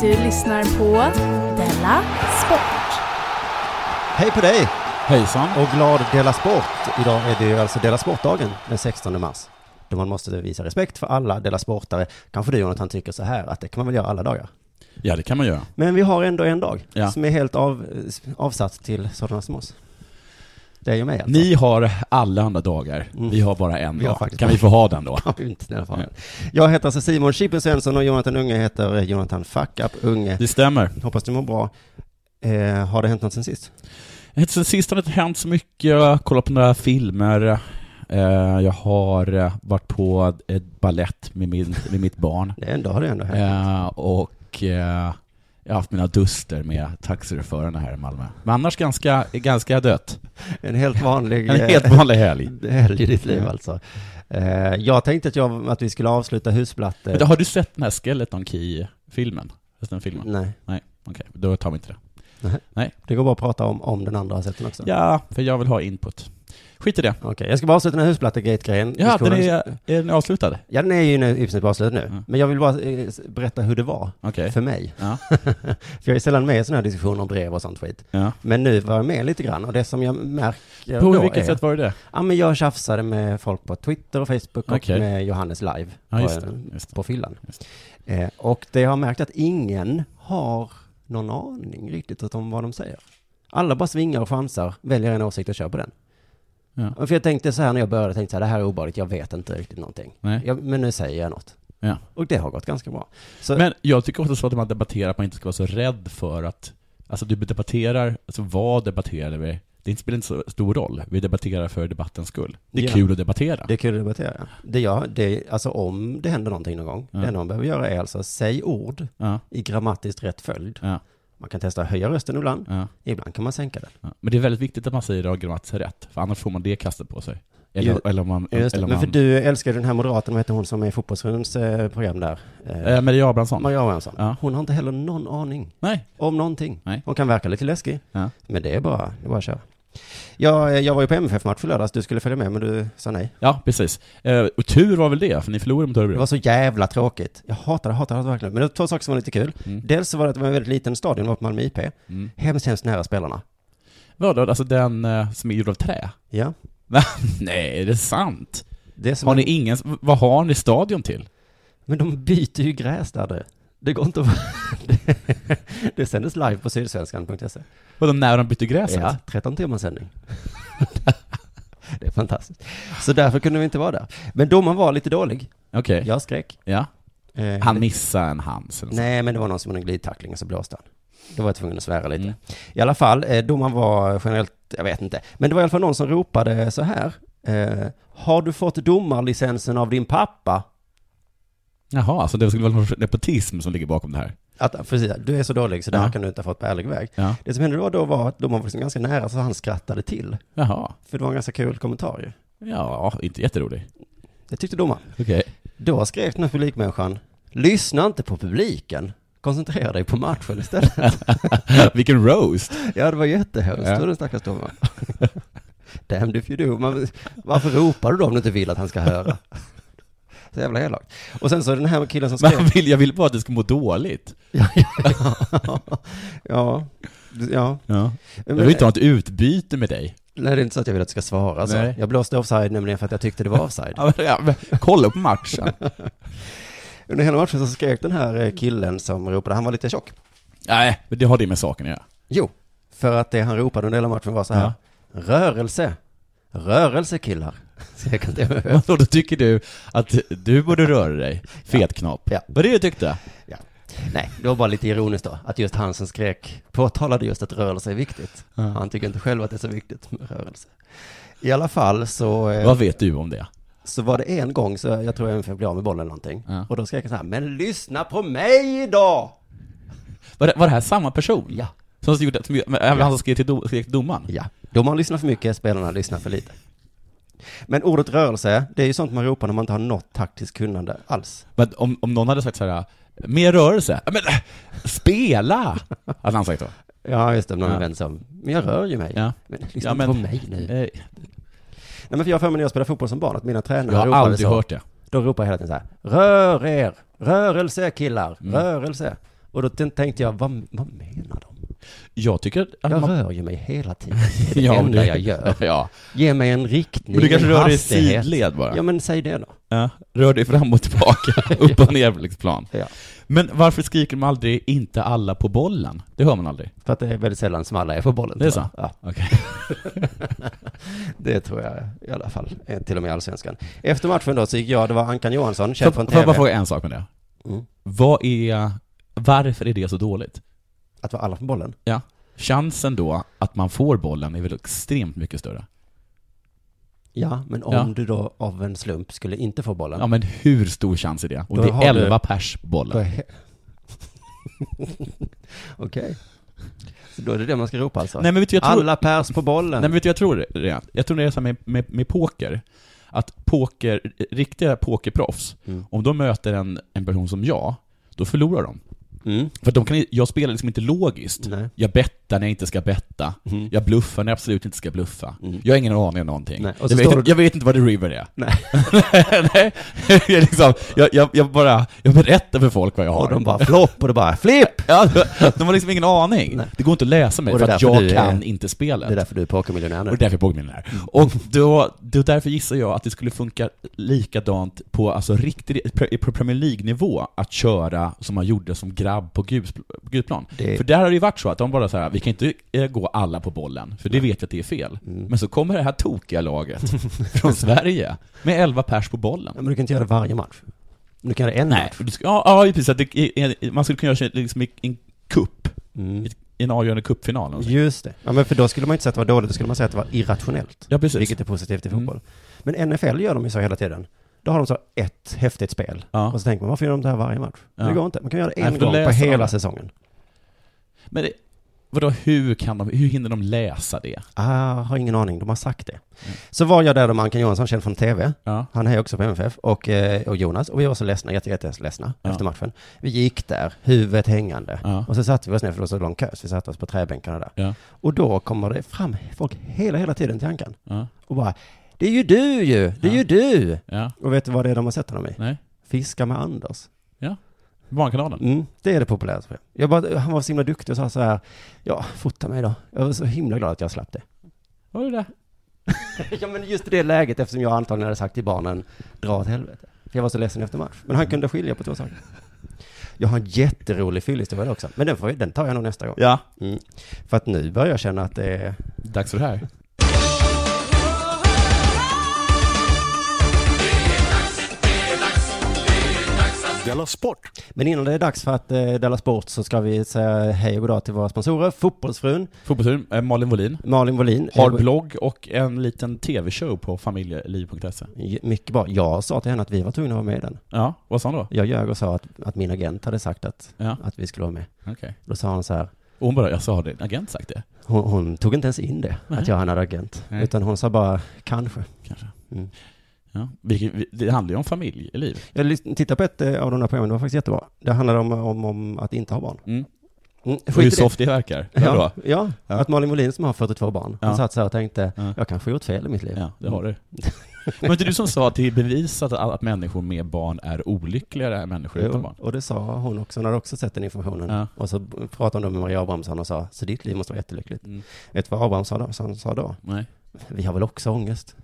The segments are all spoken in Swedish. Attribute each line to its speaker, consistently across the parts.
Speaker 1: Du lyssnar på Della Sport.
Speaker 2: Hej på dig
Speaker 3: Hejsan.
Speaker 2: och glad Dela Sport. Idag är det ju alltså Dela Sportdagen den 16 mars. Då man måste visa respekt för alla Dela Sportare. Kanske du Jonathan tycker så här att det kan man väl göra alla dagar.
Speaker 3: Ja, det kan man göra.
Speaker 2: Men vi har ändå en dag
Speaker 3: Ja.
Speaker 2: som är helt av, avsatt till sådana som oss. Det är ju mig alltså.
Speaker 3: Ni har alla andra dagar.
Speaker 2: Mm.
Speaker 3: Vi har bara en
Speaker 2: Vi har
Speaker 3: dag.
Speaker 2: faktiskt
Speaker 3: Kan
Speaker 2: bara-
Speaker 3: vi få ha den då?
Speaker 2: Ja, inte i alla fall. Jag heter alltså Simon Chippen Svensson och Jonathan Unge heter Jonathan Fuck Up Unge.
Speaker 3: Det stämmer.
Speaker 2: Hoppas du mår bra. Eh, har det hänt något sen sist?
Speaker 3: Sen sist har det inte hänt så mycket. Jag har kollat på några filmer. Eh, Jag har eh, varit på ett ballett med, min, med mitt barn.
Speaker 2: Det är ändå, har det ändå hänt.
Speaker 3: Eh, Och eh, jag har haft mina duster med taxichaufförerna här i Malmö. Men annars ganska, ganska dött.
Speaker 2: En helt vanlig...
Speaker 3: En
Speaker 2: eh,
Speaker 3: helt vanlig helg.
Speaker 2: helg i ditt liv alltså. Eh, jag tänkte att, jag, att vi skulle avsluta
Speaker 3: Men då,
Speaker 2: husplatte.
Speaker 3: har du sett den här Skeleton Key-filmen? Just den filmen?
Speaker 2: Nej,
Speaker 3: Okej, då tar vi inte det.
Speaker 2: det går bara att prata om, om den andra har sett den också.
Speaker 3: Ja, Alltså. för jag vill ha input. Skit i det.
Speaker 2: Okej, jag ska bara avsluta den här husplatte-gate-grejen.
Speaker 3: Ja, den
Speaker 2: Diskussionen.
Speaker 3: är, är den avslutad?
Speaker 2: ja, den är ju nu i princip avslutad nu.
Speaker 3: Mm.
Speaker 2: Men jag vill bara eh, s- berätta hur det var
Speaker 3: Okej.
Speaker 2: för mig.
Speaker 3: Ja.
Speaker 2: För jag är sällan med i sådana här diskussioner om brev och sånt skit.
Speaker 3: Ja.
Speaker 2: Men nu var jag med lite grann och det som jag märker
Speaker 3: På
Speaker 2: då
Speaker 3: vilket
Speaker 2: är,
Speaker 3: sätt var det det?
Speaker 2: Ja, men jag tjafsade med folk på Twitter och Facebook och
Speaker 3: Okej.
Speaker 2: med Johannes live
Speaker 3: Ja, just
Speaker 2: på,
Speaker 3: det. Just det.
Speaker 2: på fyllan.
Speaker 3: Just
Speaker 2: Eh, och det jag har märkt att ingen har någon aning riktigt om vad de säger. Alla bara svingar och chansar, väljer en åsikt och kör på den.
Speaker 3: Ja.
Speaker 2: Och För jag tänkte så här när jag började, tänkte så här, det här är obehagligt, jag vet inte riktigt någonting.
Speaker 3: Nej.
Speaker 2: Jag, men nu säger jag något.
Speaker 3: Ja.
Speaker 2: Och det har gått ganska bra. Så,
Speaker 3: Men jag tycker också så att man debatterar, att man inte ska vara så rädd för att... Alltså du debatterar, alltså vad debatterar vi? Det spelar inte så stor roll. Vi debatterar för debattens skull. Det är
Speaker 2: Ja.
Speaker 3: kul att debattera.
Speaker 2: det är kul att debattera. Det jag, det, alltså om det händer någonting någon gång,
Speaker 3: Ja.
Speaker 2: det enda man behöver göra är alltså, säg ord
Speaker 3: Ja,
Speaker 2: i grammatiskt rätt följd.
Speaker 3: Ja.
Speaker 2: Man kan testa att höja rösten ibland,
Speaker 3: ja,
Speaker 2: ibland kan man sänka den.
Speaker 3: ja. Men det är väldigt viktigt att man säger det grammatiskt rätt, för annars får man det kastat på sig. Eller,
Speaker 2: Ju-
Speaker 3: eller om man...
Speaker 2: Just det.
Speaker 3: eller om
Speaker 2: Men för
Speaker 3: man-
Speaker 2: du älskar ju den här moderaten, vad heter hon som är i Fotbollsrundens eh, program där? Eh,
Speaker 3: Eh, Maria Abrahamsson?
Speaker 2: Maria Abrahamsson.
Speaker 3: Ja.
Speaker 2: Hon har inte heller någon aning
Speaker 3: Nej.
Speaker 2: om någonting.
Speaker 3: Nej.
Speaker 2: Hon kan verka lite läskig,
Speaker 3: Ja.
Speaker 2: men det är bara, det är bara att köra. Jag, eh, jag var ju på MFF-match i lördags, du skulle följa med men du sa nej.
Speaker 3: Ja, precis. Eh, och tur var väl det, för ni förlorade mot
Speaker 2: Det
Speaker 3: Örebro.
Speaker 2: var så jävla tråkigt. Jag hatar det, hatar det, hatar det verkligen. Men det var två saker som var lite kul.
Speaker 3: Mm.
Speaker 2: Dels så var det att det var en väldigt liten stadion, det var på Malmö IP.
Speaker 3: Mm.
Speaker 2: Hemskt, hemskt nära spelarna.
Speaker 3: Vadå, alltså den eh, som är gjord av trä?
Speaker 2: Ja.
Speaker 3: Nej, är det sant?
Speaker 2: Det är som
Speaker 3: Har ni ingen, vad har ni stadion till?
Speaker 2: Men de byter ju gräs där du. Det går inte att... det sändes live på sydsvenskan.se.
Speaker 3: Vadå, när de bytte gräset?
Speaker 2: Ja, 13 timmars sändning. det är fantastiskt. Så därför kunde vi inte vara där. Men domaren var lite dålig.
Speaker 3: Okej. Ja.
Speaker 2: Jag skrek. Eh,
Speaker 3: Han missade en hands eller så.
Speaker 2: Nej, men det var någon som hade en glidtackling och så blåste han. Då var jag tvungen att svära lite.
Speaker 3: Mm.
Speaker 2: I alla fall, eh, domaren var generellt, jag vet inte. Men det var i alla fall någon som ropade så här. Eh, har du fått domarlicensen av din pappa?
Speaker 3: Jaha, alltså det skulle vara någon sorts nepotism som ligger bakom det här?
Speaker 2: Att, precis, du är så dålig så det här
Speaker 3: Ja.
Speaker 2: kan du inte ha fått på ärlig väg.
Speaker 3: Ja.
Speaker 2: Det som hände då, då var att domaren var liksom ganska nära så han skrattade till.
Speaker 3: Jaha.
Speaker 2: För det var en ganska kul kommentar ju.
Speaker 3: Ja, inte jätterolig.
Speaker 2: Det tyckte domaren.
Speaker 3: Okej.
Speaker 2: Då skrev den här publikmänniskan, lyssna inte på publiken, koncentrera dig på matchen istället.
Speaker 3: Vilken roast!
Speaker 2: ja, det var jättehemskt,
Speaker 3: Ja.
Speaker 2: ja. den stackars domaren. Damn if you do. Man, varför ropar du då om du inte vill att han ska höra? Så jävla elakt. Och sen så den här killen som
Speaker 3: Men han
Speaker 2: skrev...
Speaker 3: vill, jag vill bara att du ska må dåligt.
Speaker 2: ja, ja, ja, ja.
Speaker 3: Ja. Jag
Speaker 2: Men-
Speaker 3: vill inte ha ett utbyte med dig.
Speaker 2: Nej, det är inte så att jag vill att du ska svara så.
Speaker 3: Nej.
Speaker 2: Jag blåste offside nämligen för att jag tyckte det var offside.
Speaker 3: Ja, men- ja, men Kolla på matchen.
Speaker 2: Under hela matchen så skrek den här eh, killen som ropade, han var lite tjock.
Speaker 3: Nej, men det har det med saken att göra.
Speaker 2: Jo, för att det han ropade under hela matchen var så här.
Speaker 3: Ja.
Speaker 2: Rörelse. Rörelse killar. Så jag kan inte...
Speaker 3: Och då tycker du att du borde röra dig, fetknap.
Speaker 2: Ja.
Speaker 3: Vad det du tyckte?
Speaker 2: Nej, det var bara lite ironiskt då. Att just han som skrek påtalade just att rörelse är viktigt. Han tycker inte själv att det är så viktigt med rörelse. I alla fall så... eh,
Speaker 3: Vad vet du om det?
Speaker 2: Så var det en gång, så jag tror jag ungefär blev av med bollen eller någonting.
Speaker 3: Ja.
Speaker 2: Och då skrek han så här, men lyssna på mig då!
Speaker 3: Var det, var det här samma person?
Speaker 2: Ja.
Speaker 3: Som gjorde, som, men även han som skrev till, do, skrev till domaren?
Speaker 2: Ja, domaren lyssnar för mycket, spelarna lyssnar för lite. Men ordet rörelse, det är ju sånt man ropar när man inte har något taktiskt kunnande alls.
Speaker 3: Men om, om någon hade sagt så här, mer rörelse, Ja, men äh, spela! Hade han sagt då?
Speaker 2: Ja, just det, om någon
Speaker 3: Ja.
Speaker 2: vänder sig om. Men jag rör ju mig.
Speaker 3: Ja.
Speaker 2: Men lyssna
Speaker 3: Ja,
Speaker 2: inte
Speaker 3: men-
Speaker 2: på mig nu. Nej,
Speaker 3: Eh,
Speaker 2: men för jag har för mig när jag spelade fotboll som barn att mina tränare
Speaker 3: Jag har
Speaker 2: ropade
Speaker 3: aldrig
Speaker 2: så.
Speaker 3: hört det.
Speaker 2: Då ropade jag hela tiden så här, rör er, rörelse killar,
Speaker 3: Mm.
Speaker 2: rörelse. Och då t- tänkte jag, vad, vad menar de?
Speaker 3: Jag tycker att
Speaker 2: Jag
Speaker 3: man...
Speaker 2: rör ju mig hela tiden. Det är det
Speaker 3: Ja,
Speaker 2: enda
Speaker 3: du-
Speaker 2: jag gör.
Speaker 3: Ja.
Speaker 2: Ge mig en riktning,
Speaker 3: Men du kanske
Speaker 2: en
Speaker 3: rör dig i
Speaker 2: hastighet.
Speaker 3: sidled bara?
Speaker 2: Ja, men säg det då.
Speaker 3: Ja. Rör dig fram och tillbaka, upp och ner på liksom plan.
Speaker 2: Ja.
Speaker 3: Men varför skriker de aldrig 'inte alla på bollen'? Det hör man aldrig.
Speaker 2: För att det är väldigt sällan som alla är på bollen.
Speaker 3: Det är
Speaker 2: tror jag.
Speaker 3: så?
Speaker 2: Ja.
Speaker 3: Okej.
Speaker 2: Det tror jag i alla fall, eh, till och med i allsvenskan. Efter matchen då så gick jag, det var Ankan Johansson,
Speaker 3: Får
Speaker 2: känd från
Speaker 3: får jag
Speaker 2: TV,
Speaker 3: bara fråga en sak med det?
Speaker 2: Mm.
Speaker 3: Vad är... Varför är det så dåligt?
Speaker 2: att vara alla på bollen.
Speaker 3: Ja. Chansen då att man får bollen är väl extremt mycket större?
Speaker 2: Ja, men om
Speaker 3: Ja.
Speaker 2: du då av en slump skulle inte få bollen,
Speaker 3: Ja men hur stor chans är det?
Speaker 2: Då
Speaker 3: Och det
Speaker 2: har
Speaker 3: är 11
Speaker 2: du-
Speaker 3: pers på
Speaker 2: då
Speaker 3: bollen.
Speaker 2: är... Okej. Så då är det det man ska ropa alltså?
Speaker 3: Nej men vet du, jag tror...
Speaker 2: Alla pers på bollen!
Speaker 3: Nej men vet du, jag tror det. är- Jag tror det är så här med, med, med poker. Att poker, riktiga pokerproffs,
Speaker 2: Mm.
Speaker 3: om de möter en, en person som jag, då förlorar de.
Speaker 2: Mm.
Speaker 3: För de kan, jag spelar liksom inte logiskt.
Speaker 2: Nej.
Speaker 3: Jag bettar när jag inte ska betta.
Speaker 2: Mm.
Speaker 3: Jag bluffar när jag absolut inte ska bluffa.
Speaker 2: Mm.
Speaker 3: Jag har ingen aning om någonting.
Speaker 2: Nej, och
Speaker 3: Jag
Speaker 2: så
Speaker 3: vet,
Speaker 2: står du-
Speaker 3: jag vet inte vad the river är.
Speaker 2: Nej.
Speaker 3: Nej, jag, är liksom, jag, jag, jag bara, jag berättar för folk vad jag har.
Speaker 2: Och de bara flopp och det bara flipp!
Speaker 3: Ja, de har liksom ingen aning. Det går inte att läsa mig
Speaker 2: Och det
Speaker 3: för
Speaker 2: är
Speaker 3: att
Speaker 2: därför
Speaker 3: jag
Speaker 2: du
Speaker 3: kan
Speaker 2: är-
Speaker 3: inte
Speaker 2: Det
Speaker 3: spelet.
Speaker 2: är därför du är pokermiljonär
Speaker 3: och det
Speaker 2: nu.
Speaker 3: är därför jag pågår med den här. Och då, då därför gissar jag att det skulle funka likadant på alltså riktig, på Premier League-nivå att köra som man gjorde som grabb på gus- på gudplan.
Speaker 2: Det-
Speaker 3: För där har det ju varit så att de bara så här, vi kan inte eh, gå alla på bollen, för det vet vi att det är fel. Men så kommer det här tokiga laget från Sverige med 11 pers på bollen.
Speaker 2: Ja, men du kan inte göra det varje match. Men Du kan göra det en
Speaker 3: Nej,
Speaker 2: match.
Speaker 3: för du ska, ja, ja, precis. Att det, är- man skulle kunna göra liksom i en kupp,
Speaker 2: Mm.
Speaker 3: i en avgörande cupfinal. eller något sånt.
Speaker 2: Just det. Ja, men för då skulle man inte säga att det var dåligt, då skulle man säga att det var irrationellt.
Speaker 3: Ja, precis. Mm.
Speaker 2: Vilket är positivt i fotboll. Men NFL gör de ju så hela tiden. Då har de så ett häftigt spel.
Speaker 3: Ja.
Speaker 2: Och så tänker man, varför gör de det här varje match? Men Det
Speaker 3: Ja.
Speaker 2: går inte. Man kan göra det
Speaker 3: Nej,
Speaker 2: en
Speaker 3: för då
Speaker 2: gång på
Speaker 3: läser de
Speaker 2: hela
Speaker 3: det.
Speaker 2: säsongen.
Speaker 3: Men det, vadå, hur, kan de, hur hinner de läsa det?
Speaker 2: Ah, har ingen aning, de har sagt det.
Speaker 3: Mm.
Speaker 2: Så var jag där då med Ankan Johansson, känd från TV.
Speaker 3: Ja.
Speaker 2: Han är också på MFF, och, eh, och Jonas. Och vi var så ledsna, jätte, jätte ledsna
Speaker 3: Ja.
Speaker 2: efter matchen. Vi gick där, huvudet hängande.
Speaker 3: Ja.
Speaker 2: Och så satte vi oss ner, för det var så lång kö, så vi satte oss på träbänkarna där.
Speaker 3: Ja.
Speaker 2: Och då kommer det fram folk hela, hela tiden till Ankan.
Speaker 3: Ja.
Speaker 2: Och bara, det är ju du ju, det är
Speaker 3: Ja.
Speaker 2: ju du!
Speaker 3: ja.
Speaker 2: Och vet du vad det är de har sett honom i?
Speaker 3: Nej.
Speaker 2: Fiska med Anders.
Speaker 3: Barnkanalen.
Speaker 2: Mm, det är det populäraste. Jag bara, han var så himla duktig och sa så här, ja, fota mig då. Jag var så himla glad att jag slapp det.
Speaker 3: Var det det?
Speaker 2: ja, men just i det läget, eftersom jag antagligen hade sagt till barnen, dra åt helvete. För jag var så ledsen efter match. Men han kunde skilja på två saker. Jag har en jätterolig fyllhistoria också, men den, får, vi- den tar jag nog nästa gång.
Speaker 3: Ja.
Speaker 2: Mm. För att nu börjar jag känna att det är...
Speaker 3: Dags för det här.
Speaker 4: Della Sport!
Speaker 2: Men innan det är dags för att eh, Della Sport så ska vi säga hej och goddag till våra sponsorer. Fotbollsfrun,
Speaker 3: Fotbollstur, eh, Malin Wollin.
Speaker 2: Malin Wollin.
Speaker 3: Har
Speaker 2: Eh,
Speaker 3: blogg och en liten TV-show på familjeliv.se.
Speaker 2: J- Mycket bra. Jag sa till henne att vi var tvungna att vara med i den.
Speaker 3: Ja, vad sa hon då?
Speaker 2: Jag ljög och sa att, att min agent hade sagt att,
Speaker 3: Ja,
Speaker 2: att vi skulle vara med.
Speaker 3: okej.
Speaker 2: Då sa hon så här,
Speaker 3: Och hon bara, jag sa det, en agent sagt det?
Speaker 2: hon, hon tog inte ens in det,
Speaker 3: Nej.
Speaker 2: att jag hade en agent.
Speaker 3: Nej.
Speaker 2: Utan hon sa bara, kanske.
Speaker 3: Kanske.
Speaker 2: Mm.
Speaker 3: Ja. Vi, vi, det handlar ju om familjeliv.
Speaker 2: Jag lys- tittade på ett eh, av de där programmen, det var faktiskt jättebra. Det handlade om, om, om att inte ha barn.
Speaker 3: Mm.
Speaker 2: Mm,
Speaker 3: Och hur
Speaker 2: skit i det.
Speaker 3: soft det verkar.
Speaker 2: Ja,
Speaker 3: Ja.
Speaker 2: ja,
Speaker 3: Ja.
Speaker 2: att Malin Molin som har 42 barn, hon
Speaker 3: Ja.
Speaker 2: satt så här och tänkte,
Speaker 3: Ja.
Speaker 2: jag kanske gjort fel i mitt liv.
Speaker 3: ja, det har du. Men inte du som sa att det är bevisat att, att människor med barn är olyckligare än människor utan
Speaker 2: Jo,
Speaker 3: barn?
Speaker 2: och det sa hon också, hon hade också sett den informationen.
Speaker 3: Ja.
Speaker 2: Och så pratade hon då med Maria Abrahamsson och sa, så ditt liv måste vara jättelyckligt.
Speaker 3: Mm.
Speaker 2: Vet du vad Abrahamsson då- han sa då?
Speaker 3: Nej.
Speaker 2: Vi har väl också ångest?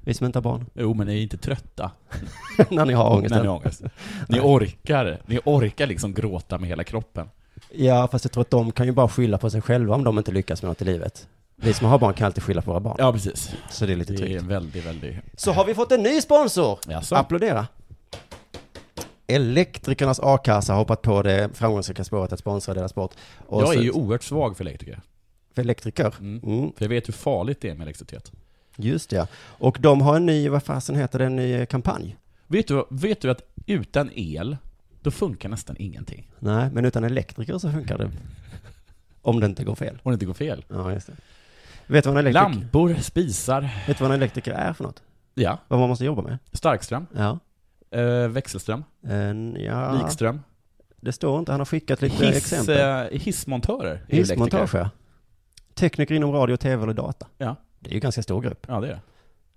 Speaker 2: Vi som inte har barn.
Speaker 3: Jo, men ni är inte trötta
Speaker 2: när ni har ångest.
Speaker 3: när ni har ångest. Ni orkar, ni orkar liksom gråta med hela kroppen.
Speaker 2: Ja, fast jag tror att de kan ju bara skylla på sig själva om de inte lyckas med något i livet. Vi som har barn kan alltid skylla på våra barn.
Speaker 3: Ja, precis.
Speaker 2: Så det är lite
Speaker 3: Det är
Speaker 2: tryggt.
Speaker 3: en väldigt, väldigt...
Speaker 2: Så har vi fått en ny sponsor!
Speaker 3: Jaså?
Speaker 2: Applådera! Elektrikernas a-kassa har hoppat på det framgångsrika spåret att sponsra deras sport. Och
Speaker 3: Jag
Speaker 2: så-
Speaker 3: är ju oerhört svag för elektriker.
Speaker 2: för elektriker.
Speaker 3: Mm.
Speaker 2: Mm,
Speaker 3: För jag vet hur farligt det är med elektricitet.
Speaker 2: just det. Och de har en ny, vad fasen heter det, en ny kampanj?
Speaker 3: Vet du, vet du att utan el, då funkar nästan ingenting.
Speaker 2: Nej, men utan elektriker så funkar det. Om det inte går fel.
Speaker 3: Om det inte går fel.
Speaker 2: Ja, just det. Vet du vad en elektriker,
Speaker 3: Lampor, spisar,
Speaker 2: vet du vad en elektriker är för något?
Speaker 3: ja,
Speaker 2: Vad man måste jobba med?
Speaker 3: starkström,
Speaker 2: Ja.
Speaker 3: eh, växelström,
Speaker 2: En, ja.
Speaker 3: likström,
Speaker 2: Det står inte, han har skickat lite
Speaker 3: hiss,
Speaker 2: exempel.
Speaker 3: eh, hissmontörer. är ju
Speaker 2: Hissmontage,
Speaker 3: elektriker.
Speaker 2: ja. Tekniker inom radio, tv eller data.
Speaker 3: Ja.
Speaker 2: Det är ju en ganska stor grupp.
Speaker 3: Ja, det är det.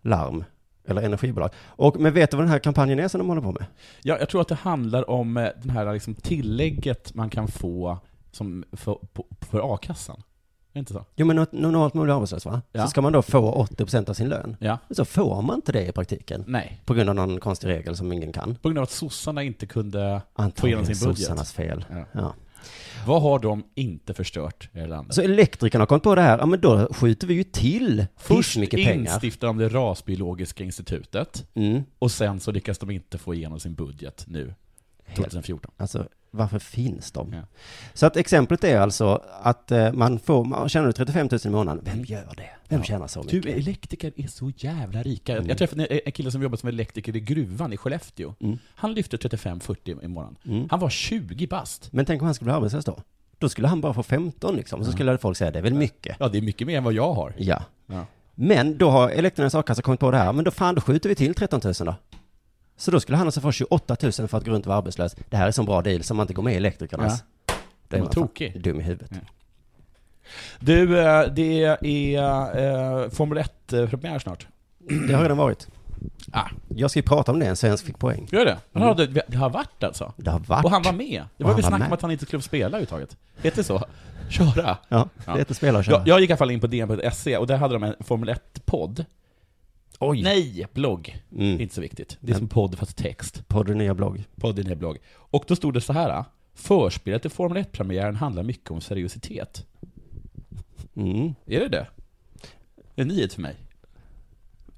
Speaker 2: Larm, eller energibolag. Och, men vet du vad den här kampanjen är som de håller på med?
Speaker 3: Ja, jag tror att det handlar om eh, den här liksom tillägget man kan få som för, på, för a-kassan. Är det inte så?
Speaker 2: Jo, men något- normalt man blir arbetslös, va?
Speaker 3: Ja.
Speaker 2: Så ska man då få 80% av sin lön.
Speaker 3: Ja.
Speaker 2: Men Så får man inte det i praktiken.
Speaker 3: Nej.
Speaker 2: På grund av någon konstig regel som ingen kan.
Speaker 3: På grund av att sossarna inte kunde få igenom
Speaker 2: Antagligen
Speaker 3: sin budget.
Speaker 2: sossarnas fel.
Speaker 3: Ja.
Speaker 2: Ja.
Speaker 3: Vad har de inte förstört i det här landet?
Speaker 2: Så elektrikerna har kommit på det här, ja men då skjuter vi ju till
Speaker 3: Först
Speaker 2: mycket pengar.
Speaker 3: instiftar de det rasbiologiska institutet,
Speaker 2: Mm.
Speaker 3: och sen så lyckas de inte få igenom sin budget nu, 2014.
Speaker 2: Alltså, varför finns de?
Speaker 3: Ja.
Speaker 2: Så att exemplet är alltså att eh, man får, man tjänar 35 000 i månaden, vem gör det? Vem tjänar så
Speaker 3: Du,
Speaker 2: mycket? Mm.
Speaker 3: elektriker är så jävla rika. Jag- Jag träffade en- en kille som jobbade som elektriker i gruvan i Skellefteå.
Speaker 2: Mm.
Speaker 3: Han lyfte 35-40 i månaden. Han var 20 bast.
Speaker 2: Men tänk om han skulle bli arbetslös då? Då skulle han bara få 15 liksom, så skulle folk säga det är väl mycket?
Speaker 3: Ja, det är mycket mer än vad jag har.
Speaker 2: Ja.
Speaker 3: Ja.
Speaker 2: Men då har elektrikernas a-kassa kommit på det här, men då fan, då skjuter vi till 13 000 då. Så då skulle han alltså få 28 000 för att gå runt och vara arbetslös. Det här är en sån bra deal som man inte går med i elektrikernas. Då är
Speaker 3: Vad
Speaker 2: man fan
Speaker 3: tokig.
Speaker 2: dum i huvudet.
Speaker 3: Du, eh, det är eh, Formel 1-premiär snart.
Speaker 2: Det har redan varit.
Speaker 3: Ah,
Speaker 2: Jag ska ju prata om det, en svensk fick poäng.
Speaker 3: gör det? Han har, det, det har varit alltså?
Speaker 2: Det har varit.
Speaker 3: Och han var med? Det var
Speaker 2: han
Speaker 3: väl
Speaker 2: var
Speaker 3: snack om
Speaker 2: med.
Speaker 3: att han inte skulle få spela överhuvudtaget? Heter det så? Köra?
Speaker 2: Ja,
Speaker 3: Ja.
Speaker 2: det heter spela och köra.
Speaker 3: Jag, jag gick i alla fall in på dn.se E, och där hade de en Formel 1-podd.
Speaker 2: Oj.
Speaker 3: Nej, blogg.
Speaker 2: Mm.
Speaker 3: Inte så viktigt. Det är som podd fast text.
Speaker 2: Podden nya blogg.
Speaker 3: Podden är blogg. Och då stod det så här. Förspelet till Formel 1-premiären handlar mycket om seriositet.
Speaker 2: Mm.
Speaker 3: Är det det? Det är en nyhet för mig.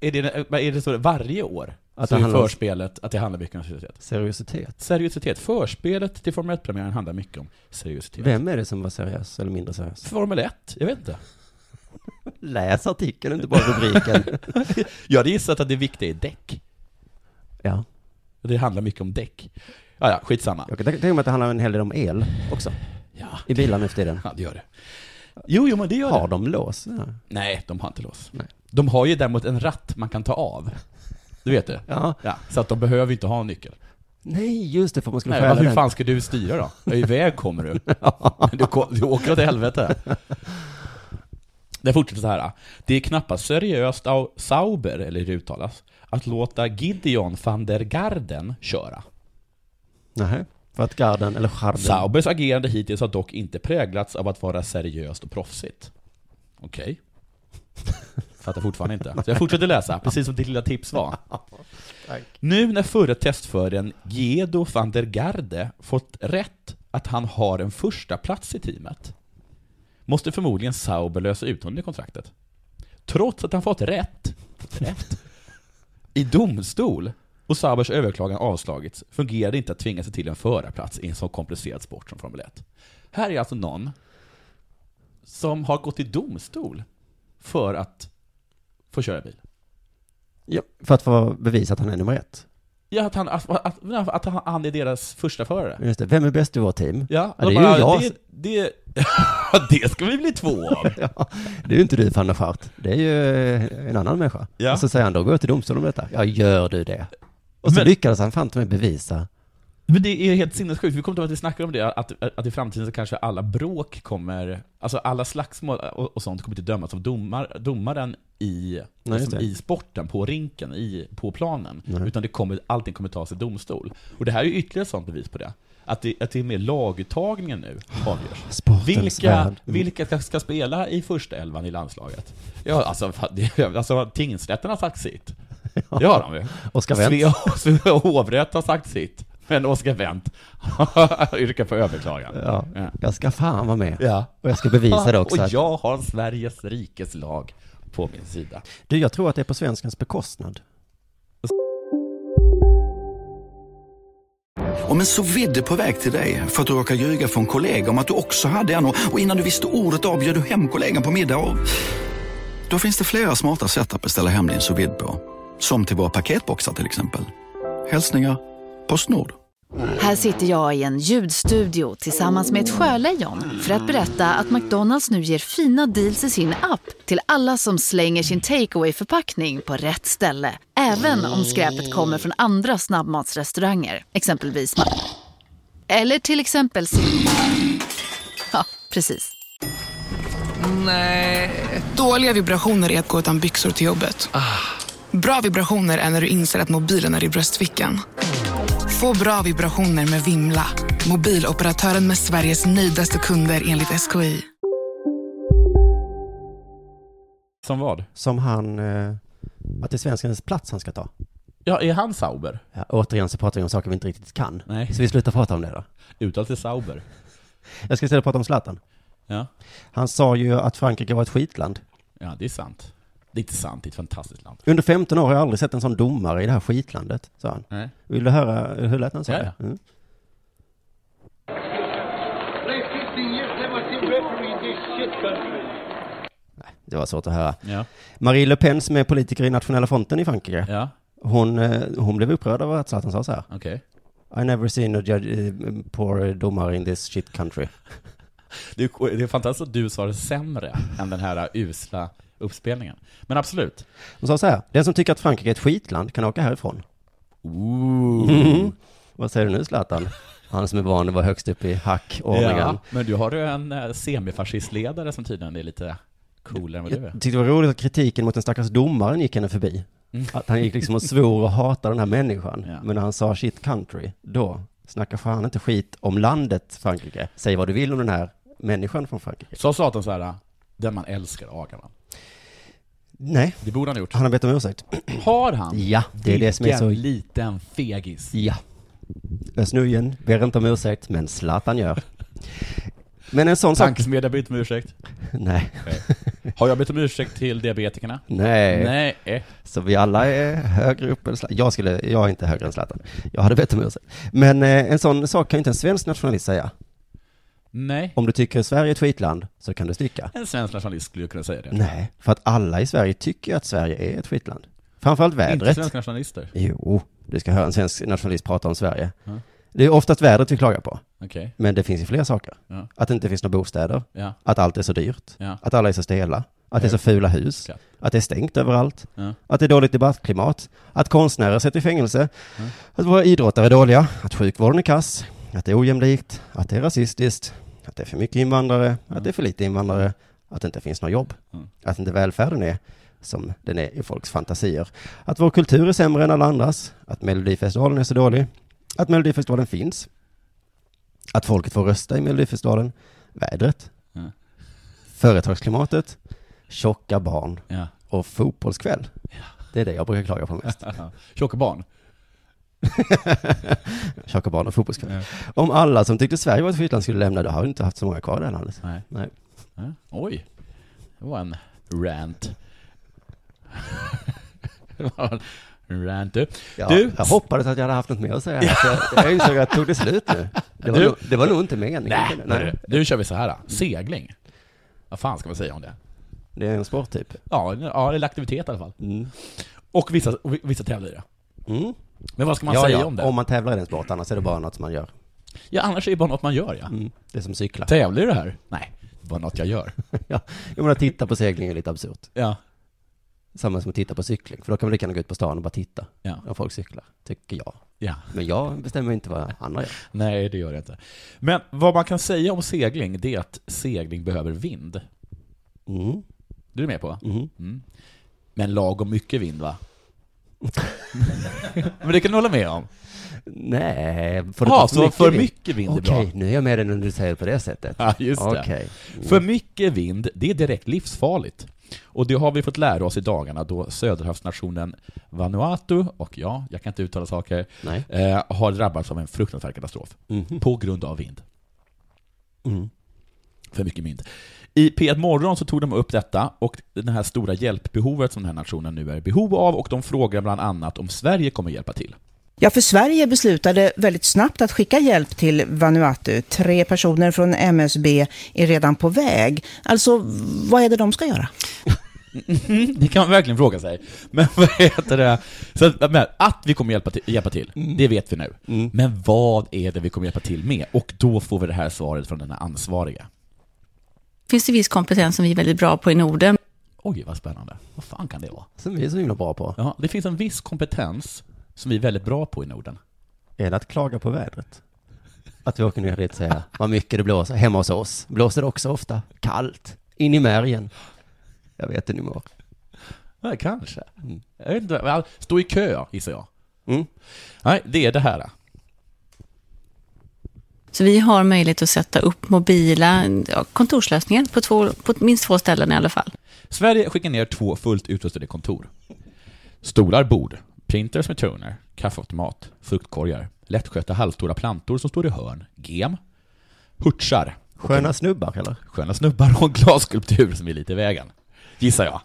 Speaker 3: Är det, vad är det så varje år?
Speaker 2: Att
Speaker 3: Att
Speaker 2: det
Speaker 3: det
Speaker 2: handlar om-
Speaker 3: förspelet, att det handlar mycket om seriositet.
Speaker 2: Seriositet.
Speaker 3: Seriositet. Förspelet till Formel 1-premiären handlar mycket om seriositet.
Speaker 2: Vem är det som var seriös eller mindre seriös?
Speaker 3: Formel 1? Jag vet inte.
Speaker 2: Läs artikeln, inte bara rubriken.
Speaker 3: Jag hade gissat att det viktiga är däck.
Speaker 2: ja.
Speaker 3: Det handlar mycket om däck. Ja, ja, skitsamma.
Speaker 2: Jag kan tänka mig att det handlar en hel del om el också.
Speaker 3: Ja,
Speaker 2: I bilar nu för tiden.
Speaker 3: ja det gör det. Jo, jo, men det gör det.
Speaker 2: Har de lås? Ja.
Speaker 3: Nej, de har inte lås.
Speaker 2: Nej.
Speaker 3: De har ju däremot en ratt man kan ta av. Du vet det?
Speaker 2: Ja.
Speaker 3: Ja, så att de behöver inte ha en nyckel.
Speaker 2: Nej, just det, för man skulle
Speaker 3: Nej,
Speaker 2: stjäla
Speaker 3: men hur
Speaker 2: den.
Speaker 3: fan ska du styra då? Ja, Iväg kommer du. Du, ko- du åker åt helvete. Det fortsätter så här. Det är knappast seriöst av Sauber, eller hur det uttalas, att låta Gideon van der Garden köra.
Speaker 2: Nej, för att garden, eller charden.
Speaker 3: Saubers agerande hittills har dock inte präglats av att vara seriöst och proffsigt. Okej. Fattar fortfarande inte. Så jag fortsätter läsa, precis som ditt lilla tips var. Nu när förre testföraren Gedo van der Garde fått rätt att han har en första plats i teamet måste förmodligen Sauber lösa ut honom i kontraktet. Trots att han fått rätt, rätt i domstol och Sabers överklagan avslagits fungerar det inte att tvinga sig till en förarplats i en så komplicerad sport som Formel 1. Här är alltså någon som har gått till domstol för att få köra bil.
Speaker 2: Ja, för att få bevisa att han är nummer ett.
Speaker 3: Ja, att han, att, att, att han- han är deras första förare.
Speaker 2: Just det, vem är bäst i vårt team?
Speaker 3: Ja,
Speaker 2: det är
Speaker 3: de
Speaker 2: ju
Speaker 3: bara,
Speaker 2: jag.
Speaker 3: Det, det, det ska vi bli två av.
Speaker 2: Ja, det är ju inte du, van der Schart. Det är ju eh, en annan människa.
Speaker 3: Ja.
Speaker 2: Och så säger han, då går jag till domstol om detta. Ja, gör du det? Och så
Speaker 3: Men-
Speaker 2: lyckades han fan inte med bevisa
Speaker 3: Men det är helt sinnessjukt, vi kommer inte ihåg att vi snackade om det, att, att i framtiden så kanske alla bråk kommer, alltså alla slagsmål och, och sånt kommer inte dömas av domar, domaren i,
Speaker 2: Nej, just
Speaker 3: liksom,
Speaker 2: det.
Speaker 3: i sporten, på rinken, i, på planen.
Speaker 2: Nej.
Speaker 3: Utan det kommer, allting kommer tas i domstol. Och det här är ju ytterligare ett sånt bevis på det. Att det, att det är mer laguttagningen nu avgörs.
Speaker 2: Sportens
Speaker 3: Vilka,
Speaker 2: värld.
Speaker 3: vilka ska- ska spela i första elvan i landslaget? Ja, alltså, fan, det, alltså tingsrätten har sagt sitt. Det har de ju.
Speaker 2: Oscar Wendt.
Speaker 3: Svea, Svea hovrätt har sagt sitt, men Oskar Wendt yrkar på överklagan.
Speaker 2: Ja.
Speaker 3: Ja.
Speaker 2: Jag ska fan vara med.
Speaker 3: Ja.
Speaker 2: Och jag ska bevisa det också.
Speaker 3: Och
Speaker 2: att-
Speaker 3: jag har Sveriges rikes lag på min sida.
Speaker 2: Du, jag tror att det är på svenskens bekostnad.
Speaker 5: Om en så vidd är på väg till dig för att du råkar ljuga från kollega om att du också hade en och och innan du visste ordet av bjöd du hem kollegan på middag och... Då finns det flera smarta sätt att beställa hem din sous vide på. Som till våra paketboxar till exempel. Hälsningar Postnord.
Speaker 6: Här sitter jag i en ljudstudio tillsammans med ett sjölejon för att berätta att McDonalds nu ger fina deals i sin app till alla som slänger sin takeaway förpackning på rätt ställe. Även om skräpet kommer från andra snabbmatsrestauranger, exempelvis Ma- Eller till exempel Sil- Ja, precis.
Speaker 7: Dåliga vibrationer är att gå utan byxor till jobbet. Bra vibrationer är när du inser att mobilen är i bröstfickan. Få bra vibrationer med Vimla. Mobiloperatören med Sveriges nöjdaste kunder enligt SKI.
Speaker 3: Som vad?
Speaker 2: Som han... Eh, att det är svenskens plats han ska ta.
Speaker 3: Ja, är han Sauber?
Speaker 2: Ja, återigen så pratar vi om saker vi inte riktigt kan.
Speaker 3: Nej.
Speaker 2: Så vi slutar prata om det då.
Speaker 3: Uttal till Sauber.
Speaker 2: Jag ska istället prata om Zlatan.
Speaker 3: Ja.
Speaker 2: Han sa ju att Frankrike var ett skitland.
Speaker 3: ja, det är sant. Det är inte sant, det är ett fantastiskt land.
Speaker 2: Under 15 år har jag aldrig sett en sån domare i det här skitlandet, sa han.
Speaker 3: Nej.
Speaker 2: Vill du höra hur lät han sa
Speaker 3: Ja,
Speaker 2: det?
Speaker 3: ja.
Speaker 2: Mm. Nej, Det var svårt att höra.
Speaker 3: Ja.
Speaker 2: Marie Le Pen som är politiker i Nationella fronten i Frankrike,
Speaker 3: Ja,
Speaker 2: hon, eh, hon blev upprörd över att Zlatan sa så här.
Speaker 3: okej.
Speaker 2: I never seen a judge, eh, poor domare in this shit country.
Speaker 3: Det är, det är fantastiskt att du sa det sämre än den här usla uppspelningen. Men absolut.
Speaker 2: Hon sa så här, den som tycker att Frankrike är ett skitland kan åka härifrån.
Speaker 3: Ooh.
Speaker 2: Vad säger du nu Zlatan? Han som är van att vara högst upp i hackordningen.
Speaker 3: men du har ju en eh, semifascistledare som tydligen är lite coolare än vad du är.
Speaker 2: Jag tyckte det var roligt att kritiken mot den stackars domaren gick henne förbi. Att han gick liksom och svor och hatade den här människan.
Speaker 3: Ja.
Speaker 2: Men när han sa shit country, då snackar fan inte skit om landet Frankrike. Säg vad du vill om den här människan från Frankrike.
Speaker 3: Sa Satan så här, den man älskar agar man.
Speaker 2: Nej,
Speaker 3: Det borde han ha gjort.
Speaker 2: han har bett om ursäkt.
Speaker 3: Har han?
Speaker 2: Ja, det är det som är
Speaker 3: Vilken
Speaker 2: så...
Speaker 3: liten fegis.
Speaker 2: Ja. Özz Nujen ber inte om ursäkt, men Zlatan gör. Men en sån sak...
Speaker 3: Tankesmedja bett om ursäkt.
Speaker 2: Nej.
Speaker 3: Har jag bett om ursäkt till diabetikerna?
Speaker 2: Nej.
Speaker 3: Nej. eh.
Speaker 2: Så vi alla är högre upp än Zlatan. Jag, skulle, jag är inte högre än Zlatan. Jag hade bett om ursäkt. Men eh, en sån sak kan ju inte en svensk nationalist säga.
Speaker 3: Nej.
Speaker 2: Om du tycker Sverige är ett skitland så kan du sticka.
Speaker 3: En svensk nationalist skulle ju kunna säga det.
Speaker 2: Nej, för att alla i Sverige tycker att Sverige är ett skitland. Framförallt
Speaker 3: Inte
Speaker 2: vädret.
Speaker 3: svenska nationalister.
Speaker 2: Jo, du ska höra en svensk nationalist prata om Sverige. Det är oftast vädret vi klagar på,
Speaker 3: Okej.
Speaker 2: men det finns ju fler saker.
Speaker 3: Ja.
Speaker 2: Att det inte finns några bostäder,
Speaker 3: Ja.
Speaker 2: att allt är så dyrt,
Speaker 3: Ja.
Speaker 2: att alla är så stela, att det är så fula hus,
Speaker 3: Ja.
Speaker 2: att det är stängt överallt,
Speaker 3: Ja.
Speaker 2: att det är dåligt debattklimat, att konstnärer sätter i fängelse, att våra idrottare är dåliga, att sjukvården är kass, att det är ojämlikt, att det är rasistiskt, att det är för mycket invandrare, att det är för lite invandrare, att det inte finns några jobb, att inte välfärden är som den är i folks fantasier, att vår kultur är sämre än alla andras, att Melodifestivalen är så dålig, att Melodifestivalen finns, att folket får rösta i Melodifestivalen, vädret,
Speaker 3: Ja.
Speaker 2: företagsklimatet, tjocka barn
Speaker 3: Ja.
Speaker 2: och fotbollskväll. Det är det jag brukar klaga på mest.
Speaker 3: Tjocka barn.
Speaker 2: Tjocka barn och fotbollskväll. Om alla som tyckte Sverige var ett skitland skulle lämna, då har vi inte haft så många kvar i det här landet.
Speaker 3: Nej.
Speaker 2: Nej.
Speaker 3: Ja. Oj. Det var en rant. Det var en rant du.
Speaker 2: Ja,
Speaker 3: Du-
Speaker 2: Jag hoppades att jag hade haft något mer att säga. Så Jag, jag insåg att det tog det slut nu. Det var,
Speaker 3: Du-
Speaker 2: nog, det var nog inte meningen.
Speaker 3: Nej,
Speaker 2: Nej.
Speaker 3: Du, nu kör vi så här. då. Segling. Vad fan ska man säga om det?
Speaker 2: Det är en typ. sporttyp.
Speaker 3: Ja, ja eller aktivitet i alla fall.
Speaker 2: Mm.
Speaker 3: Och vissa, och vissa tävlar i det.
Speaker 2: Mm.
Speaker 3: Men vad ska man
Speaker 2: ja,
Speaker 3: säga
Speaker 2: ja.
Speaker 3: om det?
Speaker 2: Om man tävlar i den sport, annars är det bara något man gör.
Speaker 3: Ja, annars är det bara något man gör ja.
Speaker 2: Mm. Det är som cykla.
Speaker 3: Tävlar i det här? Nej, det är bara något jag gör.
Speaker 2: Ja. Jag menar, titta på segling är lite absurt.
Speaker 3: Ja.
Speaker 2: Samma som att titta på cykling, för då kan man lika gärna gå ut på stan och bara titta
Speaker 3: Ja.
Speaker 2: när folk cyklar, tycker jag.
Speaker 3: Ja.
Speaker 2: Men jag bestämmer inte vad andra gör.
Speaker 3: Nej, det gör det inte. Men vad man kan säga om segling, det är att segling behöver vind.
Speaker 2: Mm.
Speaker 3: Du är med på? Mm. Men lagom mycket vind, va? Men det kan du hålla med om?
Speaker 2: Nej,
Speaker 3: får det ta för mycket vind?
Speaker 2: Okej,
Speaker 3: Okej,
Speaker 2: nu är jag med dig när du säger det på det sättet.
Speaker 3: Ja, just det. För mycket vind, det är direkt livsfarligt. Och det har vi fått lära oss i dagarna då söderhavsnationen Vanuatu, och ja, jag kan inte uttala saker,
Speaker 2: Nej.
Speaker 3: eh, har drabbats av en fruktansvärd katastrof. På grund av vind. För mycket vind. I P1 Morgon så tog de upp detta och det här stora hjälpbehovet som den här nationen nu är i behov av och de frågar bland annat om Sverige kommer hjälpa till.
Speaker 8: Ja, för Sverige beslutade väldigt snabbt att skicka hjälp till Vanuatu. Tre personer från MSB är redan på väg. Alltså, vad är det de ska göra?
Speaker 3: Mhm, det kan man verkligen fråga sig. Men vad heter det? Så att, men, att vi kommer hjälpa till, hjälpa till det vet vi nu. Men vad är det vi kommer hjälpa till med? Och då får vi det här svaret från den här ansvariga.
Speaker 9: finns det viss kompetens som vi är väldigt bra på i Norden.
Speaker 3: Oj, vad spännande. Vad fan kan det vara?
Speaker 2: Som vi är så himla bra på.
Speaker 3: Ja, det finns en viss kompetens som vi är väldigt bra på i Norden.
Speaker 2: Är det att klaga på vädret? Att vi åker ner dit och säga vad mycket det blåser. Hemma hos oss blåser det också ofta. Kallt. In i märgen. Jag vet hur ni mår.
Speaker 3: Ja, kanske. Jag vet inte, men stå i kö, gissar jag. Nej, det är det här.
Speaker 9: Så vi har möjlighet att sätta upp mobila ja, kontorslösningar på, två, på minst två ställen i alla fall.
Speaker 3: Sverige skickar ner två fullt utrustade kontor. Stolar, bord, printers med toner, kaffeautomat, fruktkorgar, lättskötta halvstora plantor som står i hörn, gem, hurtsar.
Speaker 2: Sköna snubbar, eller?
Speaker 3: Sköna snubbar och en glasskulptur som är lite i vägen. Gissar jag.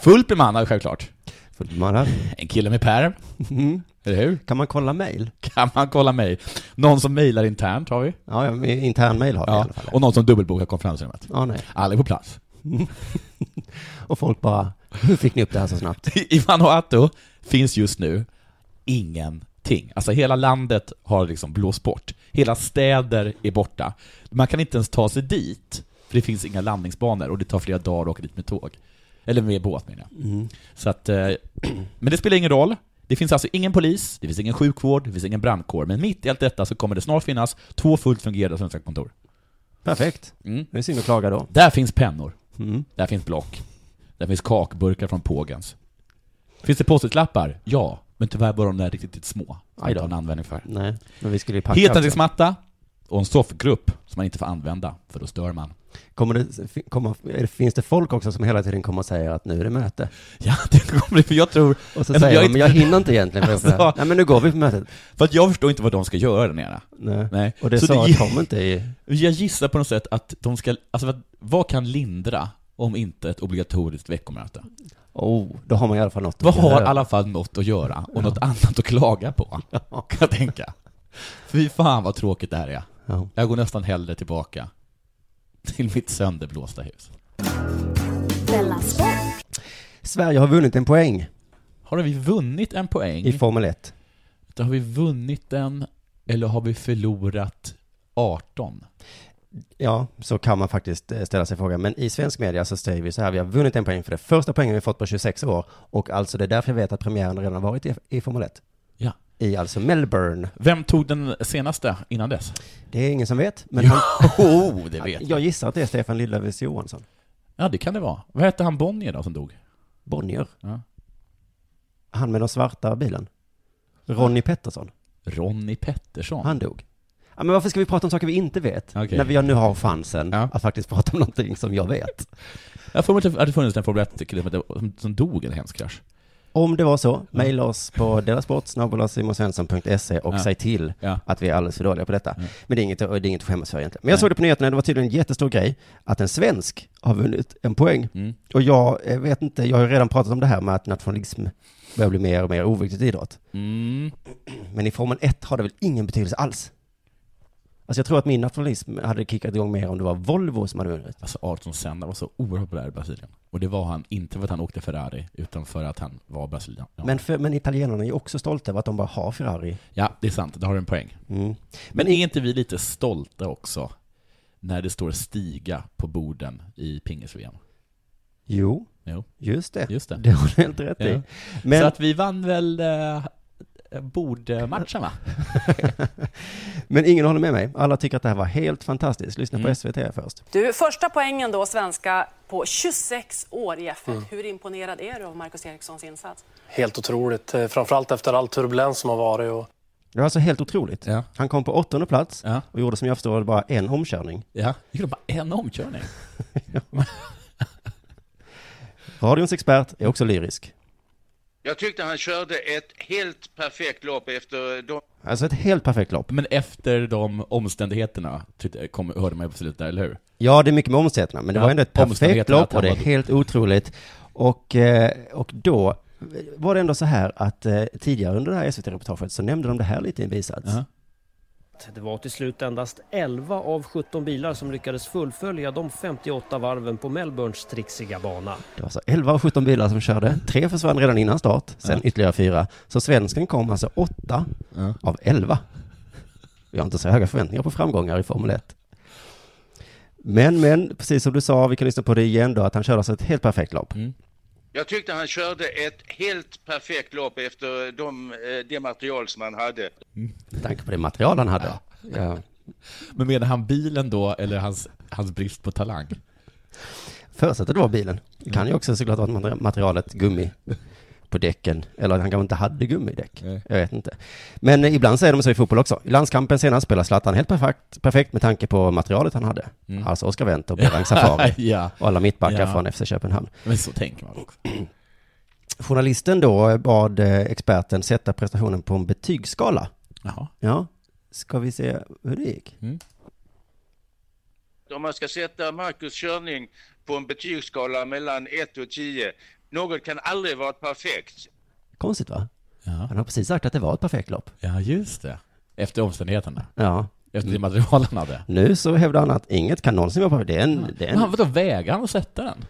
Speaker 3: Fullt bemannad självklart.
Speaker 2: Fullt bemannad.
Speaker 3: En kille med pärm. Eller hur?
Speaker 2: Kan man kolla mejl?
Speaker 3: Kan man kolla mejl. Någon som mejlar internt har vi.
Speaker 2: Ja, ja, men intern mejl har vi i alla fall.
Speaker 3: Och någon som dubbelbokar konferensrummet.
Speaker 2: Ja, nej.
Speaker 3: Alla är på plats.
Speaker 2: Och folk bara, hur fick ni upp det här så snabbt?
Speaker 3: I Vanuatu finns just nu ingenting. Alltså hela landet har liksom blåst bort. Hela städer är borta. Man kan inte ens ta sig dit, för det finns inga landningsbanor och det tar flera dagar att åka dit med tåg. Eller med båt menar jag. Så att, eh, men det spelar ingen roll. Det finns alltså ingen polis, det finns ingen sjukvård, det finns ingen brandkår. Men mitt i allt detta så kommer det snart finnas två fullt fungerande svenska kontor. Mm.
Speaker 2: Perfekt. Det är synd att klaga då.
Speaker 3: Där finns pennor.
Speaker 2: Mm.
Speaker 3: Där finns block. Där finns kakburkar från Pågens. Finns det post-it-lappar? Ja. Men tyvärr bara de där riktigt, riktigt små. Som
Speaker 2: Aj
Speaker 3: inte
Speaker 2: då. alltså.
Speaker 3: har en användning för.
Speaker 2: Nej, men vi skulle ju packa. också.
Speaker 3: Heltäckningsmatta och en soffgrupp som man inte får använda, för då stör man.
Speaker 2: Kommer det, fin- kommer, är det- finns det folk också som hela tiden kommer och säger att nu är det möte?
Speaker 3: Ja, det kommer det, för jag tror...
Speaker 2: Och så
Speaker 3: Alltså,
Speaker 2: säger
Speaker 3: jag är
Speaker 2: de, men jag
Speaker 3: inte-
Speaker 2: hinner inte egentligen. För
Speaker 3: Alltså-
Speaker 2: Nej, men nu går vi på mötet.
Speaker 3: För att jag förstår inte vad de ska göra där nere.
Speaker 2: Nej. Och det sa Tom inte i...
Speaker 3: Jag gissar på något sätt att de ska... Alltså, vad, vad kan lindra om inte ett obligatoriskt veckomöte?
Speaker 2: Oh, då har man i alla fall något att
Speaker 3: Vad har i
Speaker 2: göra.
Speaker 3: alla fall något att göra och något annat att klaga på, kan jag tänka. Fy fan vad tråkigt det här är.
Speaker 2: Ja.
Speaker 3: Jag går nästan hellre tillbaka till mitt sönderblåsta hus.
Speaker 1: Della Sport.
Speaker 2: Sverige har vunnit en poäng
Speaker 3: Har vi vunnit en poäng?
Speaker 2: i Formel 1.
Speaker 3: Då har vi vunnit den, eller har vi förlorat 18?
Speaker 2: Ja, så kan man faktiskt eh, ställa sig frågan. Men i svensk media så säger vi så här, vi har vunnit en poäng för det första poängen vi fått på 26 år. Och alltså det är därför jag vet att premiären redan har varit i, i Formel 1.
Speaker 3: Ja.
Speaker 2: I alltså Melbourne.
Speaker 3: Vem tog den senaste innan dess?
Speaker 2: Det är ingen som vet, men han,
Speaker 3: Jo, det vet jag.
Speaker 2: jag gissar att det är Stefan Lillöfs Johansson.
Speaker 3: Ja, det kan det vara. Vad hette han Bonnier då som dog?
Speaker 2: Bonnier.
Speaker 3: Ja.
Speaker 2: Han med den svarta bilen. Ronnie Pettersson.
Speaker 3: Ronny Pettersson.
Speaker 2: Han dog. Ja, men varför ska vi prata om saker vi inte vet?
Speaker 3: Okej.
Speaker 2: När vi nu har chansen
Speaker 3: Ja.
Speaker 2: att faktiskt prata om någonting som jag vet.
Speaker 3: Jag får mig att det funnits en Formel 1-kille som hette- som- som dog i en hemsk krasch.
Speaker 2: Om det var så, mejla oss på delasport.simonsvensson.se och
Speaker 3: Ja.
Speaker 2: säg till
Speaker 3: Ja.
Speaker 2: att vi är alldeles för dåliga på detta. Men det är inget, det är inget att skämmas för egentligen. Men jag såg det på nyheterna, det var tydligen en jättestor grej att en svensk har vunnit en poäng.
Speaker 3: Mm.
Speaker 2: Och jag eh, vet inte, jag har ju redan pratat om det här med att nationalism börjar bli mer och mer oviktigt i idrott.
Speaker 3: Mm.
Speaker 2: Men i Formel 1 har det väl ingen betydelse alls? Alltså jag tror att min nationalism hade kickat igång mer om det var Volvo som hade vunnit.
Speaker 3: Alltså Ayrton Senna var så oerhört populär i Brasilien. Och det var han inte för att han åkte Ferrari, utan för att han var brasilian. Ja,
Speaker 2: Men, för, men italienarna är ju också stolta över att de bara har Ferrari.
Speaker 3: ja det är sant. Där har du en poäng.
Speaker 2: Mm.
Speaker 3: Men är inte vi lite stolta också när det står Stiga på borden i pingis-VM?
Speaker 2: Jo,
Speaker 3: Jo.
Speaker 2: Just det.
Speaker 3: Just det.
Speaker 2: Det har du helt rätt
Speaker 3: Ja.
Speaker 2: i.
Speaker 3: Så
Speaker 2: Men,
Speaker 3: att vi vann väl eh, bordmatchen va?
Speaker 2: men ingen håller med mig. Alla tycker att det här var helt fantastiskt. Lyssna
Speaker 3: Mm.
Speaker 2: på SVT här först.
Speaker 10: Du, första poängen då, svenska, på 26 år i FN. Hur imponerad är du av Marcus Erikssons insats?
Speaker 11: Mm. Helt otroligt, eh, framförallt efter all turbulens som har varit. Och
Speaker 2: Det var alltså helt otroligt. Han kom på åttonde plats och gjorde som jag förstår det bara en omkörning.
Speaker 3: Ja. Vi gjorde bara en omkörning.
Speaker 2: Radions expert är också lyrisk.
Speaker 12: Jag tyckte han körde ett helt perfekt lopp efter de
Speaker 2: Alltså ett helt perfekt lopp.
Speaker 3: Men efter de omständigheterna tyckte- kom, hörde man ju på slutet där, eller hur?
Speaker 2: Ja, det är mycket med omständigheterna, men det
Speaker 3: Ja,
Speaker 2: var ändå ett perfekt
Speaker 3: omständigheterna
Speaker 2: lopp och
Speaker 3: att han
Speaker 2: det är
Speaker 3: var-
Speaker 2: helt otroligt. Och, eh, och då var det ändå så här att eh, tidigare under det här SVT-reportaget så nämnde de det här lite i en bisats.
Speaker 13: Det var till slut endast 11 av 17 bilar som lyckades fullfölja de 58 varven på Melbournes trixiga bana.
Speaker 2: Det var så 11 av 17 bilar som körde. Tre försvann redan innan start, sen
Speaker 13: Ja.
Speaker 2: ytterligare fyra. Så svensken kom alltså åtta av 11. Vi har inte så höga förväntningar på framgångar i Formel 1. Men, men, precis som du sa, vi kan lyssna på det igen då, att han körde alltså ett helt perfekt lopp.
Speaker 12: Jag tyckte han körde ett helt perfekt lopp efter de, eh, det material som han hade.
Speaker 2: Med tanke på det material han hade. Ja.
Speaker 3: Men menar han bilen då, eller hans, hans brist på talang?
Speaker 2: Förutsatt att det var bilen. Det kan ju också såklart vara att mat- materialet gummi på däcken. Eller att han kanske inte hade gummidäck. Jag vet inte. Men eh, ibland säger de så i fotboll också. I landskampen senast spelar Zlatan helt perfekt, perfekt med tanke på materialet han hade.
Speaker 3: Mm.
Speaker 2: Alltså Oscar Wendt och Behrang Safari.
Speaker 3: Ja.
Speaker 2: Och alla mittbackar
Speaker 3: Ja.
Speaker 2: från FC Köpenhamn.
Speaker 3: Men så tänker man också.
Speaker 2: Journalisten då bad eh, experten sätta prestationen på en betygsskala.
Speaker 3: Jaha.
Speaker 2: Ja. Ska vi se hur det gick?
Speaker 3: Mm.
Speaker 12: Om man ska sätta Marcus körning på en betygsskala mellan 1 och 10, något kan aldrig vara perfekt.
Speaker 2: Konstigt va? Han har precis sagt att det var ett perfekt lopp.
Speaker 3: Ja, just det. Efter omständigheterna.
Speaker 2: Ja.
Speaker 3: Efter det material han hade.
Speaker 2: Nu så hävdar han att inget kan någonsin vara perfekt. Det är en, det är
Speaker 3: Men
Speaker 2: en
Speaker 3: han, vadå, vägrar han att sätta den?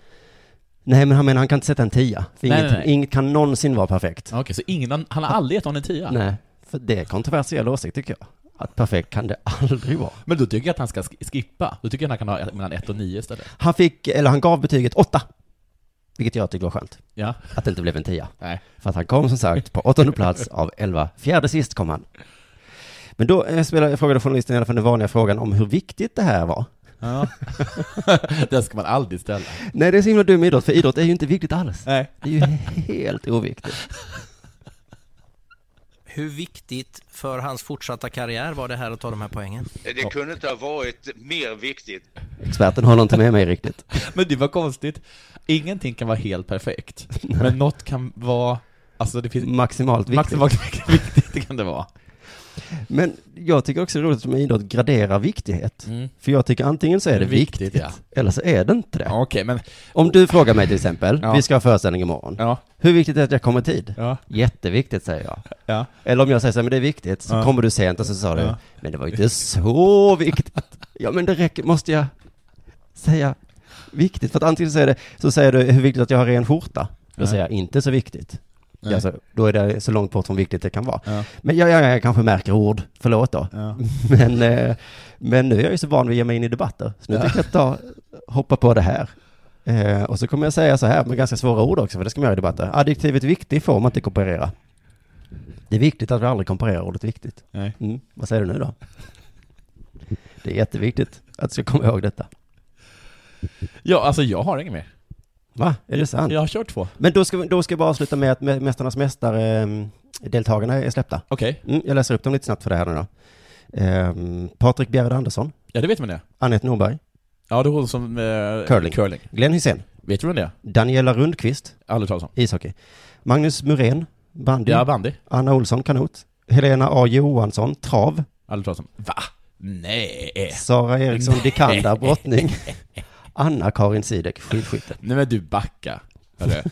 Speaker 2: Nej, men han menar han kan inte sätta en tia. För
Speaker 3: Nej,
Speaker 2: inget,
Speaker 3: nej, nej.
Speaker 2: inget kan någonsin vara perfekt.
Speaker 3: Okej, så ingen, han han har aldrig gett honom en tia?
Speaker 2: Nej, för det är kontroversiell åsikt tycker jag. Att perfekt kan det aldrig vara.
Speaker 3: Men då tycker jag att han ska sk- skippa. Då tycker jag att han kan ha ett- mellan 1 och 9 istället.
Speaker 2: Han fick, eller han gav betyget åtta. Vilket jag tycker var skönt.
Speaker 3: Ja.
Speaker 2: Att det inte blev en tia.
Speaker 3: Nej.
Speaker 2: För att han kom som sagt på åttonde plats av elva. Fjärde sist kom han. Men då eh, spelade, frågade journalisten i alla fall den vanliga frågan om hur viktigt det här var.
Speaker 3: Ja. den ska man aldrig ställa.
Speaker 2: Nej, det är så himla dum idrott, för idrott är ju inte viktigt alls.
Speaker 3: Nej.
Speaker 2: Det är ju helt oviktigt.
Speaker 14: Hur viktigt för hans fortsatta karriär var det här att ta de här poängen?
Speaker 12: Det kunde inte ha varit mer viktigt.
Speaker 2: Experten håller inte med mig riktigt.
Speaker 3: Men det var konstigt. Ingenting kan vara helt perfekt. Men något kan vara... Alltså det finns...
Speaker 2: Maximalt viktigt.
Speaker 3: Maximalt viktigt kan det vara.
Speaker 2: Men jag tycker också det är roligt att man idrott graderar viktighet. För jag tycker antingen så är det viktigt, eller så är det inte det. Om du frågar mig till exempel,
Speaker 3: Ja.
Speaker 2: vi ska ha föreställning imorgon.
Speaker 3: Ja.
Speaker 2: Hur viktigt är det att jag kommer i tid?
Speaker 3: Ja.
Speaker 2: Jätteviktigt säger jag.
Speaker 3: Ja.
Speaker 2: Eller om jag säger så här, men det är viktigt, så
Speaker 3: Ja.
Speaker 2: kommer du sent och så sa du,
Speaker 3: Ja.
Speaker 2: men det var ju inte så viktigt. Ja men det räcker, måste jag säga viktigt? För att antingen så är det, så säger du hur viktigt att jag har ren skjorta. Då
Speaker 3: Ja.
Speaker 2: säger jag inte så viktigt.
Speaker 3: Nej.
Speaker 2: Alltså, då är det så långt bort från viktigt det kan vara.
Speaker 3: Ja.
Speaker 2: Men jag, jag, jag kanske märker ord, förlåt då.
Speaker 3: Ja.
Speaker 2: Men, eh, men nu är jag ju så van vid att ge mig in i debatter, så nu
Speaker 3: Ja.
Speaker 2: tänker jag ta, hoppa på det här. Eh, och så kommer jag säga så här, med ganska svåra ord också, för det ska man göra i debatter. Adjektivet viktig får man inte komparera. Det är viktigt att vi aldrig komparerar ordet viktigt.
Speaker 3: Nej.
Speaker 2: Mm. Vad säger du nu då? Det är jätteviktigt att du ska komma ihåg detta.
Speaker 3: Ja, alltså jag har inget mer.
Speaker 2: Va? Är det sant?
Speaker 3: Jag har kört två.
Speaker 2: Men då ska, vi- då ska jag bara avsluta med att Mä- Mästarnas mästare, ehm, deltagarna är släppta.
Speaker 3: Okej.
Speaker 2: Mm, jag läser upp dem lite snabbt för det här nu då. Ehm, Patrik Bjerred Andersson.
Speaker 3: Ja, det vet man det.
Speaker 2: Anette Norberg.
Speaker 3: Ja, det är hon som... Eh,
Speaker 2: Curling.
Speaker 3: curling.
Speaker 2: Glenn Hysén.
Speaker 3: Vet du vem det är?
Speaker 2: Daniela Rundqvist.
Speaker 3: Aldrig talas om.
Speaker 2: Ishockey. Magnus Muren. Bandy.
Speaker 3: Ja, bandy.
Speaker 2: Anna Olsson, kanot. Helena A Johansson, trav.
Speaker 3: Aldrig talas om. Va? Nej.
Speaker 2: Sara Eriksson Dikander,
Speaker 3: Nej.
Speaker 2: brottning. Anna-Karin Sidek, skidskytte.
Speaker 3: Nej men du, backa. Hörru.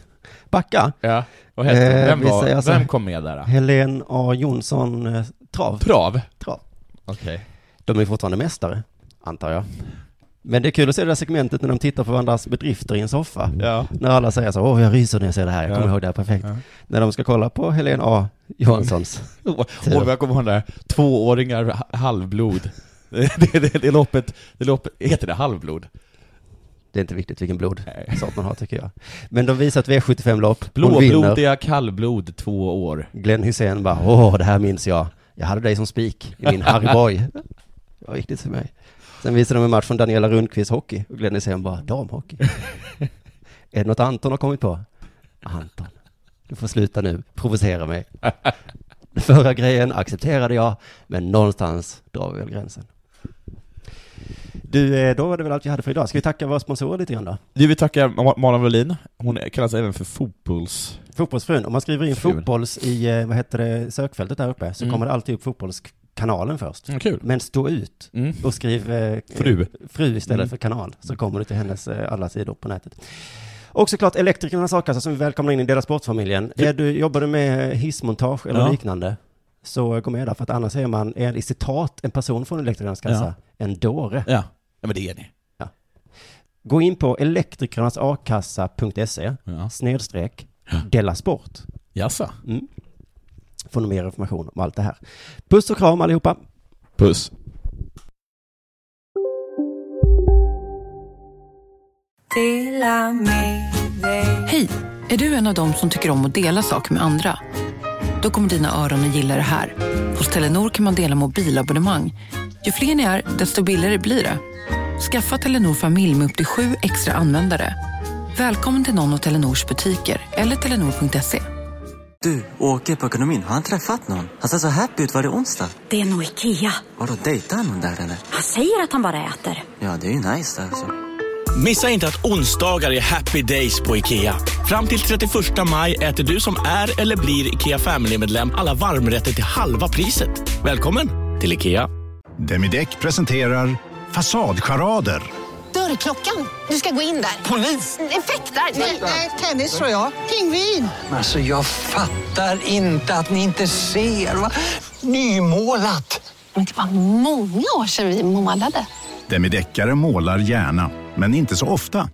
Speaker 2: Backa.
Speaker 3: Ja, vad hette hon? Vem
Speaker 2: vi
Speaker 3: var-
Speaker 2: säger
Speaker 3: vem kom med där?
Speaker 2: Helen A Jonsson, eh, trav.
Speaker 3: Trav?
Speaker 2: Trav.
Speaker 3: Okej.
Speaker 2: De är fortfarande mästare, antar jag. Men det är kul att se det där segmentet när de tittar på varandras bedrifter i en soffa.
Speaker 3: Ja.
Speaker 2: När alla säger så, åh jag ryser när jag ser det här, jag
Speaker 3: Ja.
Speaker 2: kommer ihåg det här perfekt.
Speaker 3: Ja.
Speaker 2: När de ska kolla på Helen A Johanssons
Speaker 3: Åh, åh, jag kommer ihåg den där, tvååringar ha- halvblod. Det, det, det, det loppet, det loppet, heter det halvblod?
Speaker 2: Det är inte viktigt vilken blodsort man har tycker jag. Men de visar ett V75-lopp. Hon vinner.
Speaker 15: Blåblodiga kallblod, två år.
Speaker 2: Glenn Hussein bara, åh, det här minns jag. Jag hade dig som spik i min Harryboy. Det var viktigt för mig. Sen visade de en match från Daniela Rundqvist hockey och Glenn Hysén bara, damhockey. är det något Anton har kommit på? Anton, du får sluta nu, provocera mig. Förra grejen accepterade jag, men någonstans drar vi väl gränsen. Du, eh, då var det väl allt vi hade för idag. Ska vi tacka våra sponsorer lite grann då?
Speaker 15: Vi vill tacka Ma- Malin Wallin. Hon kallas även för fotbolls...
Speaker 2: Fotbollsfrun, om man skriver in fotbolls i, eh, vad heter det, sökfältet där uppe, så
Speaker 15: Mm.
Speaker 2: kommer det alltid upp fotbollskanalen först.
Speaker 15: Mm, kul.
Speaker 2: Men stå ut
Speaker 15: Mm.
Speaker 2: och skriv eh,
Speaker 15: Fru.
Speaker 2: fru istället
Speaker 15: Mm.
Speaker 2: för kanal, så kommer du till hennes eh, alla sidor på nätet. Och såklart Elektrikernas A-kassa som vi välkomnar in i Dela Sportfamiljen.
Speaker 15: Du-
Speaker 2: Är du, jobbar du med eh, hissmontage eller
Speaker 15: Ja.
Speaker 2: liknande, så gå med där, för att annars är man, är i citat, en person från Elektrikernas kassa, en dåre.
Speaker 15: Ja. ja, men det är ni.
Speaker 2: Ja. Gå in på elektrikernasakassa.se snedstreck Della Sport.
Speaker 15: Jaså?
Speaker 2: Mm. Får ni mer information om allt det här. Puss och kram allihopa.
Speaker 15: Puss.
Speaker 16: Hej! Är du en av dem som tycker om att dela saker med andra? Då kommer dina öron att gilla det här. Hos Telenor kan man dela mobilabonnemang. Ju fler ni är, desto billigare blir det. Skaffa Telenor familj med upp till sju extra användare. Välkommen till någon av Telenors butiker eller telenor.se.
Speaker 5: Du, åker på ekonomin. Har han träffat någon? Han ser så happy ut. Var det onsdag?
Speaker 17: Det är nog Ikea.
Speaker 5: Har du dejtat någon där eller?
Speaker 17: Han säger att han bara äter.
Speaker 5: Ja, det är ju nice alltså.
Speaker 3: Missa inte att onsdagar är happy days på IKEA. Fram till 31 maj äter du som är eller blir IKEA Family-medlem alla varmrätter till halva priset. Välkommen till IKEA.
Speaker 18: Demideck presenterar Fasadcharader.
Speaker 19: Dörrklockan. Du ska gå in där. Polis? Effektar? Nej, nej, tennis tror jag. Pingvin.
Speaker 20: Alltså jag fattar inte att ni inte ser. Va? Nymålat!
Speaker 19: Men det var många år sedan vi målade.
Speaker 18: Demideckare målar gärna, men inte så ofta.